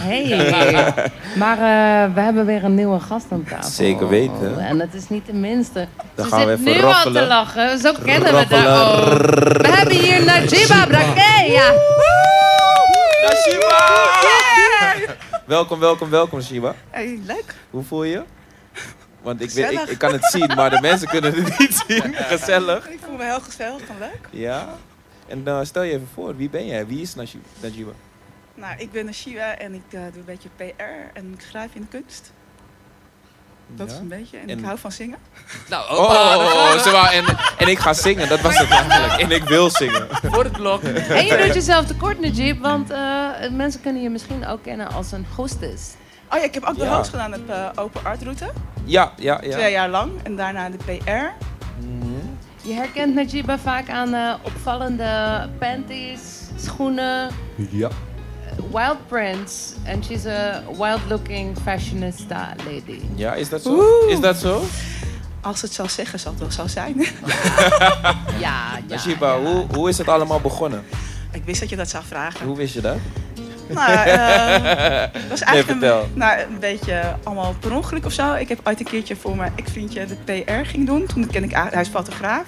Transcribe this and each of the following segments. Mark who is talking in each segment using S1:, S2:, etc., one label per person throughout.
S1: Hey. maar eh, we hebben weer een nieuwe gast aan tafel. Oh,
S2: Zeker weten.
S1: En het is niet de minste.
S2: Dan
S1: Ze
S2: gaan we
S1: zit
S2: even
S1: nu al te
S2: roffelen.
S1: lachen. Zo kennen we
S2: Roffelen.
S1: haar al. We hebben hier Najiba Brakeya.
S2: Welkom, welkom, welkom, Shima.
S3: Hey, leuk.
S2: Hoe voel je? Want ik, weet, ik,
S3: Gezellig.
S2: ik kan het zien, maar de mensen kunnen het niet zien. Gezellig.
S3: Ik voel me heel gezellig en leuk.
S2: Ja. En eh, stel je even voor, wie ben jij? Wie is Naji- Najiba?
S3: Nou, ik ben Shiva en ik eh, doe een beetje PR en ik schrijf in de kunst. Dat
S2: Ja.
S3: is een beetje. En,
S2: En-
S3: ik hou van zingen.
S4: Nou,
S2: Oh, oh,
S4: opa,
S2: oh, oh, ze wou- en, en ik ga zingen, dat was het eigenlijk. En ik wil zingen.
S4: voor het blok.
S1: En je doet jezelf tekort, Najib, want eh, mensen kunnen je misschien ook kennen als een hostess.
S3: Oh ja, ik heb ook de
S2: Ja.
S3: host gedaan op eh, Open Art Route.
S2: Ja, ja, ja.
S3: Twee jaar lang. En daarna de PR.
S2: Mhm.
S1: Je herkent Najiba vaak aan eh, opvallende panties, schoenen,
S2: Ja.
S1: wild prints. And she's a wild-looking fashionista lady.
S2: Ja, is dat zo?
S3: Oeh.
S2: Is dat zo?
S3: Als het zal zeggen, zal het wel zo zijn.
S1: Ja, ja.
S2: Najiba,
S1: ja.
S2: hoe, hoe is het allemaal begonnen?
S3: ik wist dat je dat zou vragen.
S2: Hoe wist je dat?
S3: Nou, eh, het was eigenlijk
S2: vertel.
S3: een, nou, een beetje allemaal per ongeluk of zo. Ik heb ooit een keertje voor mijn ex-vriendje de PR ging doen. Toen kende ik, a- hij is fotograaf.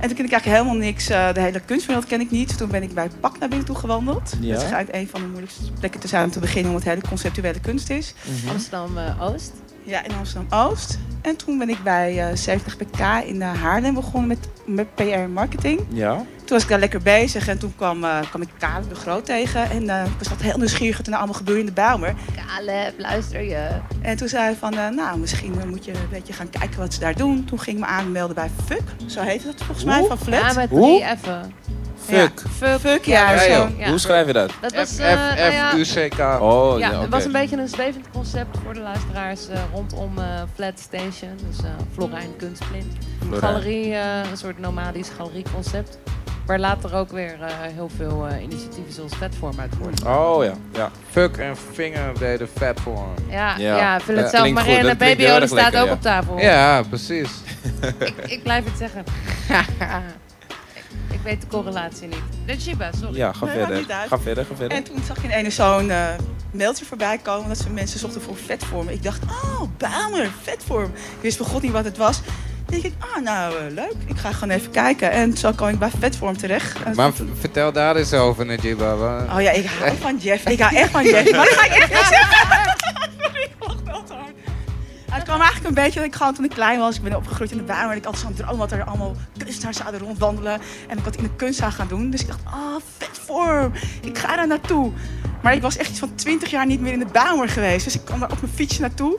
S3: En toen kende ik eigenlijk helemaal niks. eh, de hele kunstwereld ken ik niet. Toen ben ik bij Pak naar binnen toe gewandeld.
S2: Ja.
S3: Dat is eigenlijk een van de moeilijkste plekken te zijn om te beginnen, omdat het hele conceptuele kunst is.
S1: Amsterdam-Oost.
S3: Ja, in Amsterdam-Oost. En toen ben ik bij eh 70 PK in eh, Haarlem begonnen met, met PR en marketing.
S2: Ja.
S3: Toen was ik daar lekker bezig en toen kwam, eh, kwam ik Karel de Groot tegen. En eh, ik was altijd heel nieuwsgierig wat er nou allemaal gebeurde in de Bijlmer.
S1: Caleb, luister je.
S3: En toen zei hij van, eh, nou, misschien eh, moet je een beetje gaan kijken wat ze daar doen. Toen ging ik me aanmelden bij FUK, zo heette dat volgens mij,
S2: Hoe?
S3: van Flat.
S1: Ja, met
S2: Hoe?
S1: drie even.
S2: Fuck.
S1: Fuck,
S3: Fuck, ja,
S1: ja,
S3: zo.
S1: joh.
S2: Hey, Hoe schrijf je dat?
S1: Dat was,
S5: F,
S1: eh, nou ja,
S5: F, U, C, K.
S2: Oh,
S1: ja,
S2: ja,
S1: het
S2: oké.
S1: was een beetje een zwevend concept voor de luisteraars eh, rondom eh, Flat Station. Dus eh Florijn Kunstplint. Een
S2: Florijn.
S1: galerie, eh, een soort nomadisch galerieconcept. Waar later ook weer eh, heel veel eh, initiatieven zoals Vetform uit worden.
S2: Oh ja, ja.
S5: Fuck en vinger deden vet voor hem.
S1: Ja, ja.
S2: Ja.
S1: vul
S2: Ja,
S1: het zelf
S2: klinkt
S1: maar
S2: goed.
S1: in.
S2: Dat
S1: En
S2: klinkt
S1: Baby
S2: heel
S1: Ode
S2: erg
S1: staat
S2: lekker,
S1: ook
S2: ja.
S1: op
S3: Oh.
S1: tafel.
S5: Ja, precies.
S1: Ik, ik blijf het zeggen. ik, ik weet de correlatie niet. Najiba, sorry.
S2: Ja, ga
S3: Nee, maakt
S2: verder.
S3: niet uit.
S2: Ga verder, ga verder.
S3: En toen zag ik in ene zo'n eh, mailtje voorbij komen dat ze mensen zochten voor vetvormen. Ik dacht, oh, Bijlmer, vetvorm. Ik wist van god niet wat het was. Toen denk ik, ah, nou, eh, leuk, ik ga gewoon even kijken. En zo kwam ik bij vetvorm terecht. En-
S5: Maar v- vertel daar eens over, Najiba. wa-
S3: Oh ja, ik hou van Jeff. Ik hou echt van Jeff. Maar dat ga ik echt niet zeggen. Sorry, ik lach wel te hard. Het kwam eigenlijk een beetje dat ik gewoon toen ik klein was, ik ben opgegroeid in de baan, en ik had zo'n droom dat er allemaal kunstenaars zouden rondwandelen en ik wat in de kunst zou gaan doen. Dus ik dacht, ah, vet vorm, ik ga daar naartoe. Maar ik was echt iets van 20 jaar niet meer in de Bauer geweest, dus ik kwam daar op mijn fiets naartoe.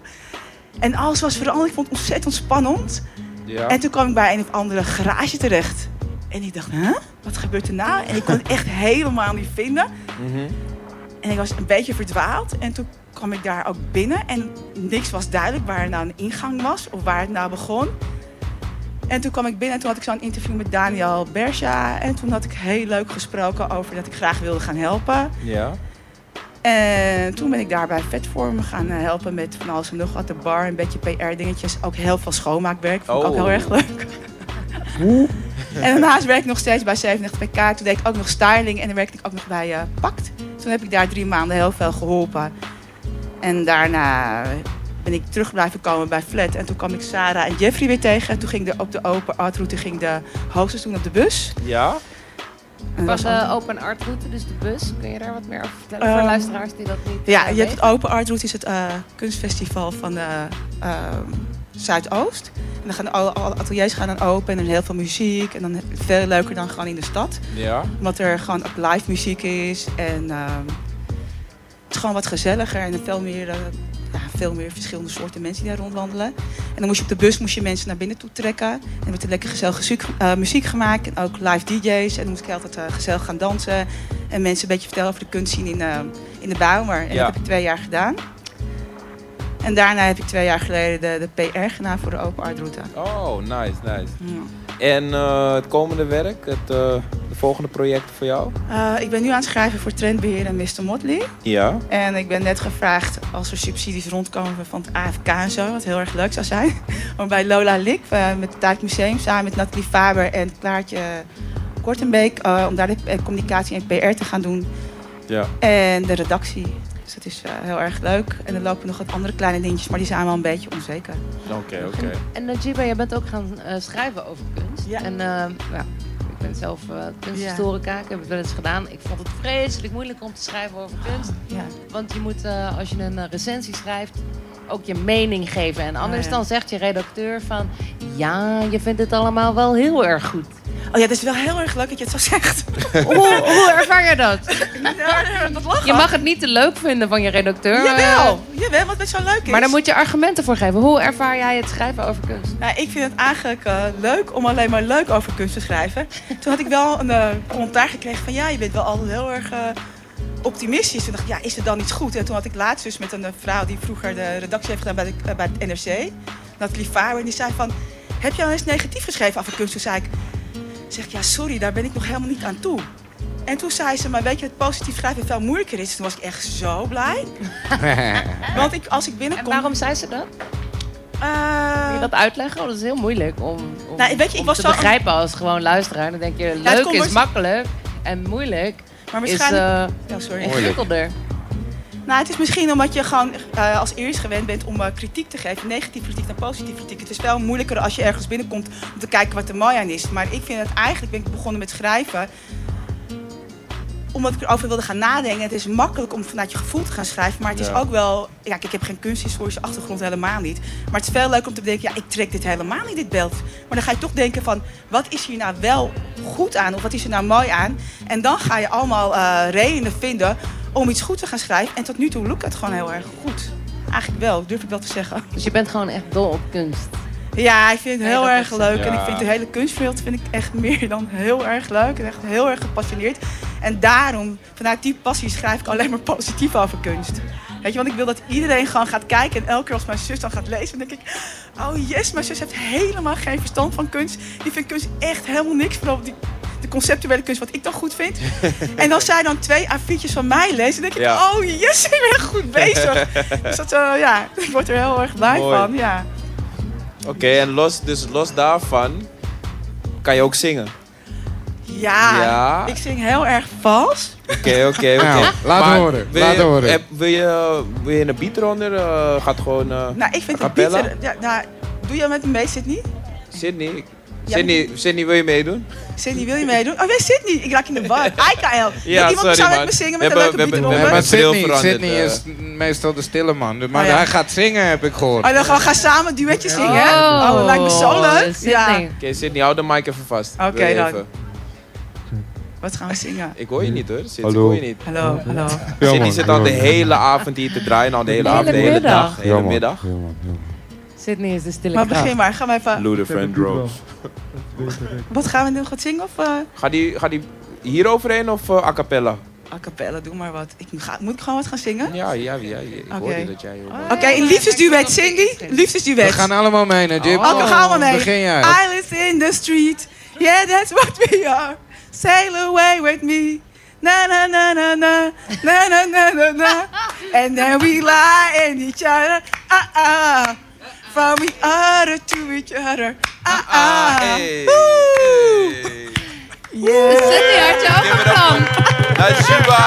S3: En alles was veranderd, ik vond het ontzettend spannend.
S2: ja.
S3: En toen kwam ik bij een of andere garage terecht. En ik dacht, huh? Wat gebeurt er nou? En ik kon het echt helemaal niet vinden.
S2: Mhm.
S3: En ik was een beetje verdwaald. En toen kwam ik daar ook binnen. En niks was duidelijk waar er nou een ingang was. Of waar het nou begon. En toen kwam ik binnen en toen had ik zo'n interview met Daniel Bersha. En toen had ik heel leuk gesproken over dat ik graag wilde gaan helpen.
S2: ja.
S3: En toen ben ik daar bij Vetform gaan eh, helpen met van alles en nog wat. De bar, een beetje PR-dingetjes. Ook heel veel schoonmaakwerk. Vond ik ook
S2: Oh.
S3: heel erg leuk. en daarnaast werk ik nog steeds bij 97 PK. Toen deed ik ook nog styling en dan werkte ik ook nog bij eh, Pact. Toen heb ik daar drie maanden heel veel geholpen. En daarna ben ik terug blijven komen bij Flat. En toen kwam ik Sarah en Jeffrey weer tegen. En toen ging de, op de open artroute ging de hostess doen op de bus.
S2: Ja.
S3: En dat
S1: Van
S3: was
S1: de open art route, dus de bus. Kun je daar wat meer over vertellen voor
S3: Ehm,
S1: luisteraars die dat niet
S3: Ja,
S1: eh,
S3: je hebt
S1: weten?
S3: het Open Art Route, is het eh, kunstfestival van eh, ehm, Zuidoost. En dan gaan alle, alle ateliers gaan dan open en er is heel veel muziek. En dan veel leuker dan gewoon in de stad.
S2: Ja.
S3: Omdat er gewoon ook live muziek is. En ehm, het is gewoon wat gezelliger en veel meer, eh, ja, veel meer verschillende soorten mensen die daar rondwandelen. En dan moest je op de bus moest je mensen naar binnen toe trekken. En er werd er lekker gezellig muziek, eh, muziek gemaakt. En ook live DJ's. En dan moest ik altijd eh, gezellig gaan dansen. En mensen een beetje vertellen over de kunstzien in, eh, in de Bijlmer. En
S2: Ja.
S3: dat heb ik twee jaar gedaan. En daarna heb ik twee jaar geleden de, de PR gedaan voor de Open Art Route.
S2: Oh, nice, nice.
S3: Ja.
S2: En eh, het komende werk, het eh, de volgende project voor jou?
S3: Eh, ik ben nu aan het schrijven voor Trendbeheer en Mr. Motley.
S2: Ja.
S3: En ik ben net gevraagd als er subsidies rondkomen van het AFK en zo, wat heel erg leuk zou zijn. Om bij Lola Lik eh, met het Taartmuseum samen met Nathalie Faber en Klaartje Kortenbeek. eh, om daar de eh, communicatie en PR te gaan doen.
S2: Ja.
S3: En de redactie. Dus het is eh, heel erg leuk. En er lopen nog wat andere kleine dingetjes, maar die zijn wel een beetje onzeker.
S2: Oké, oké.
S1: En Najiba, jij bent ook gaan eh, schrijven over kunst.
S3: Ja.
S1: En eh, ja, ik ben zelf eh kunsthistorica, ik heb het wel eens gedaan. Ik vond het vreselijk moeilijk om te schrijven over kunst.
S3: Ja.
S1: Want je moet, eh, als je een eh, recensie schrijft, ook je mening geven. En anders
S3: ja.
S1: dan zegt je redacteur van... Ja, je vindt het allemaal wel heel erg goed.
S3: Oh ja, het is wel heel erg leuk dat je het zo zegt.
S1: hoe, hoe ervaar je dat?
S3: Ja, dat lachen.
S1: Je mag het niet te leuk vinden van je redacteur.
S3: Jawel, jawel, wat best wel leuk is.
S1: eh, Maar daar moet je argumenten voor geven. Hoe ervaar jij het schrijven over kunst?
S3: Nou, ik vind het eigenlijk eh, leuk om alleen maar leuk over kunst te schrijven. Toen had ik wel een eh, commentaar gekregen van ja, je bent wel altijd heel erg eh, optimistisch. Toen dacht ik, ja, is het dan iets goed? En toen had ik laatst dus met een eh, vrouw die vroeger de redactie heeft gedaan bij, de, eh, bij het NRC, Nathalie Faber, en die zei van, heb je al eens negatief geschreven over kunst? Toen zei ik, zeg ik, ja, sorry, daar ben ik nog helemaal niet aan toe. En toen zei ze, maar weet je, het positief schrijven veel moeilijker is. Toen was ik echt zo blij. Want ik, als ik
S1: En
S3: binnenkom...
S1: waarom zei ze dat?
S3: eh,
S1: Kun je dat uitleggen? Want dat is heel moeilijk om, om,
S3: Nou, weet je, ik
S1: om
S3: was
S1: te
S3: zo-
S1: begrijpen als gewoon luisteraar. Dan denk je,
S3: het
S1: leuk
S3: komt
S1: is
S3: waarsch-
S1: makkelijk en moeilijk
S3: maar
S1: is
S3: waarschijnlijk...
S1: eh,
S3: Ja, sorry.
S1: ingewikkelder.
S3: Nou, het is misschien omdat je gewoon eh, als eerst gewend bent om eh, kritiek te geven. Negatieve kritiek naar positieve kritiek. Het is wel moeilijker als je ergens binnenkomt om te kijken wat er mooi aan is. Maar ik vind het eigenlijk, ben ik begonnen met schrijven omdat ik erover wilde gaan nadenken. Het is makkelijk om vanuit je gevoel te gaan schrijven. Maar het is
S2: Ja.
S3: ook wel... Ja, kijk, ik heb geen kunsthistorische achtergrond helemaal niet. Maar het is veel leuker om te bedenken... Ja, ik trek dit helemaal niet, dit beeld. Maar dan ga je toch denken van... Wat is hier nou wel goed aan? Of wat is er nou mooi aan? En dan ga je allemaal eh, redenen vinden om iets goed te gaan schrijven. En tot nu toe lukt het gewoon heel erg goed. Eigenlijk wel, durf ik wel te zeggen.
S1: Dus je bent gewoon echt dol op kunst.
S3: Ja, ik vind het
S1: Nee,
S3: heel
S1: dat
S3: erg
S1: is het.
S3: leuk. En
S2: Ja.
S3: ik vind de hele kunstwereld vind ik echt meer dan heel erg leuk. En echt heel erg gepassioneerd. En daarom, vanuit die passie schrijf ik alleen maar positief over kunst. Weet je, want ik wil dat iedereen gewoon gaat kijken. En elke keer als mijn zus dan gaat lezen, dan denk ik... Oh yes, mijn zus heeft helemaal geen verstand van kunst. Die vindt kunst echt helemaal niks. Vooral die, de conceptuele kunst, wat ik dan goed vind. en als zij dan twee A4'tjes van mij leest, dan denk ik...
S2: Ja.
S3: Oh yes, ik ben echt goed bezig. dus dat, eh, ja, ik word er heel erg blij
S2: Mooi.
S3: van. Ja.
S2: Oké, en los, dus los daarvan kan je ook zingen.
S3: Ja,
S2: Ja.
S3: ik zing heel erg vals.
S2: Oké, oké, oké.
S5: Nou, laat
S2: Maar
S5: horen,
S2: Wil
S5: laat
S2: je,
S5: horen.
S2: heb- wil, je, wil je een beat eronder? Eh, gaat gewoon... eh,
S3: Nou, ik vind
S2: A
S3: het beat...
S2: cappella?
S3: Ja, nou, doe jij met hem mee, Sydney?
S2: Sydney, ik-
S3: Ja,
S2: Sydney, Sydney, wil je meedoen?
S3: Sydney, wil je meedoen? Oh, nee, Sydney. Ik raak in de war. IKL.
S2: Ja,
S3: iemand
S2: sorry,
S3: zou met
S2: man.
S3: me zingen
S2: We
S3: met een
S2: hebben- we
S3: leuke beat
S2: hebben- we
S3: eronder.
S5: Nee, maar
S2: hebben-
S5: Sydney,
S2: Heel veranderd,
S5: Sydney
S2: eh.
S5: is meestal de stille man. Maar
S3: Oh ja.
S5: hij gaat zingen, heb ik gehoord.
S3: Oh, dan gaan we gaan samen duetjes zingen. Oh, dat lijkt me zo leuk. Ja.
S1: Sydney.
S2: Oké, Sydney, hou de mic even vast.
S3: Oké,
S2: Wil je
S3: dan.
S2: even?
S3: Wat gaan we zingen?
S2: Ik hoor je niet hoor, Sydney,
S4: Hallo.
S2: ik hoor je niet.
S3: Hallo, hallo.
S2: Sydney zit al de hele avond hier te draaien, al de hele
S1: De
S2: avond, de
S1: hele
S2: hele
S1: middag.
S2: dag, de hele middag.
S1: Sydney is de stille
S3: Maar
S1: kracht.
S3: begin maar. Gaan we even...
S2: Luther Vandross.
S3: Wat gaan we nu? Gaan zingen of... eh
S2: Ga die, ga die hier overheen of eh, a cappella?
S3: a cappella, doe maar wat. Ik ga, moet ik gewoon wat gaan zingen?
S2: Ja, ja, ja. Ik
S3: Oké. Ah.
S2: hoorde dat jij... joh.
S3: Oké, een liefdesduet, Cindy.
S5: We
S3: Liefdesduet.
S5: gaan allemaal mee naar Jib.
S3: Oh, we gaan allemaal mee. Ah.
S5: Begin jij.
S3: I live in the street. Yeah, that's what we are. Sail away with me. Na na na na na. Na na na na na. And then we lie in each other. Ah ah. From each other to each other. Ah ah.
S2: hey.
S3: Woe.
S2: Hey.
S3: Yeah.
S1: Sydney, had je overgedaan?
S2: Najiba!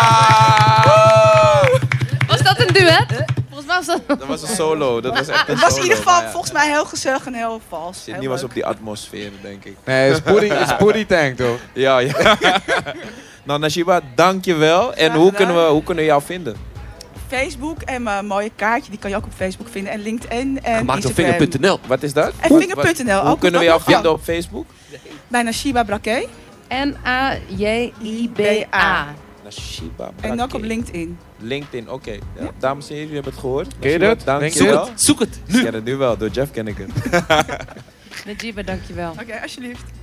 S1: Was dat een duet? Volgens mij was dat...
S2: Dat was een solo. Dat was echt een
S3: Het was in
S2: solo,
S3: ieder
S2: maar
S3: geval
S2: ja.
S3: volgens mij heel gezellig en heel vals.
S2: Sydney
S3: Heel
S2: was
S3: leuk.
S2: op die atmosfeer, denk ik.
S5: Nee, het is Booty- het is Booty Tank, toch?
S2: Ja, ja. nou, Najiba, dankjewel. En
S3: Graag
S2: hoe
S3: gedaan.
S2: kunnen, we, hoe kunnen we jou vinden?
S3: Facebook en mijn mooie kaartje, die kan je ook op Facebook vinden. En LinkedIn en
S6: Gemaakt op
S3: Instagram.
S6: vinger.nl.
S2: Wat is dat?
S3: En
S2: Wat-
S3: vinger.nl
S2: wat- Hoe
S3: ook,
S2: kunnen we
S3: dat
S2: jou
S3: mag
S2: vinden op Facebook?
S3: Bij Nashiba Braké.
S1: N-A-J-I-B-A.
S2: Najiba
S3: En ook
S2: Brakke.
S3: op LinkedIn.
S2: LinkedIn, oké. Ja, Dames en heren, jullie hebben het gehoord.
S5: Ken je
S2: Najiba,
S5: dat?
S6: Zoek
S2: Dankjewel.
S6: het, zoek het,
S2: Ik
S6: nu.
S2: ken het nu wel, door Jeff ken ik het.
S1: Najiba, dankjewel.
S3: Oké, alsjeblieft.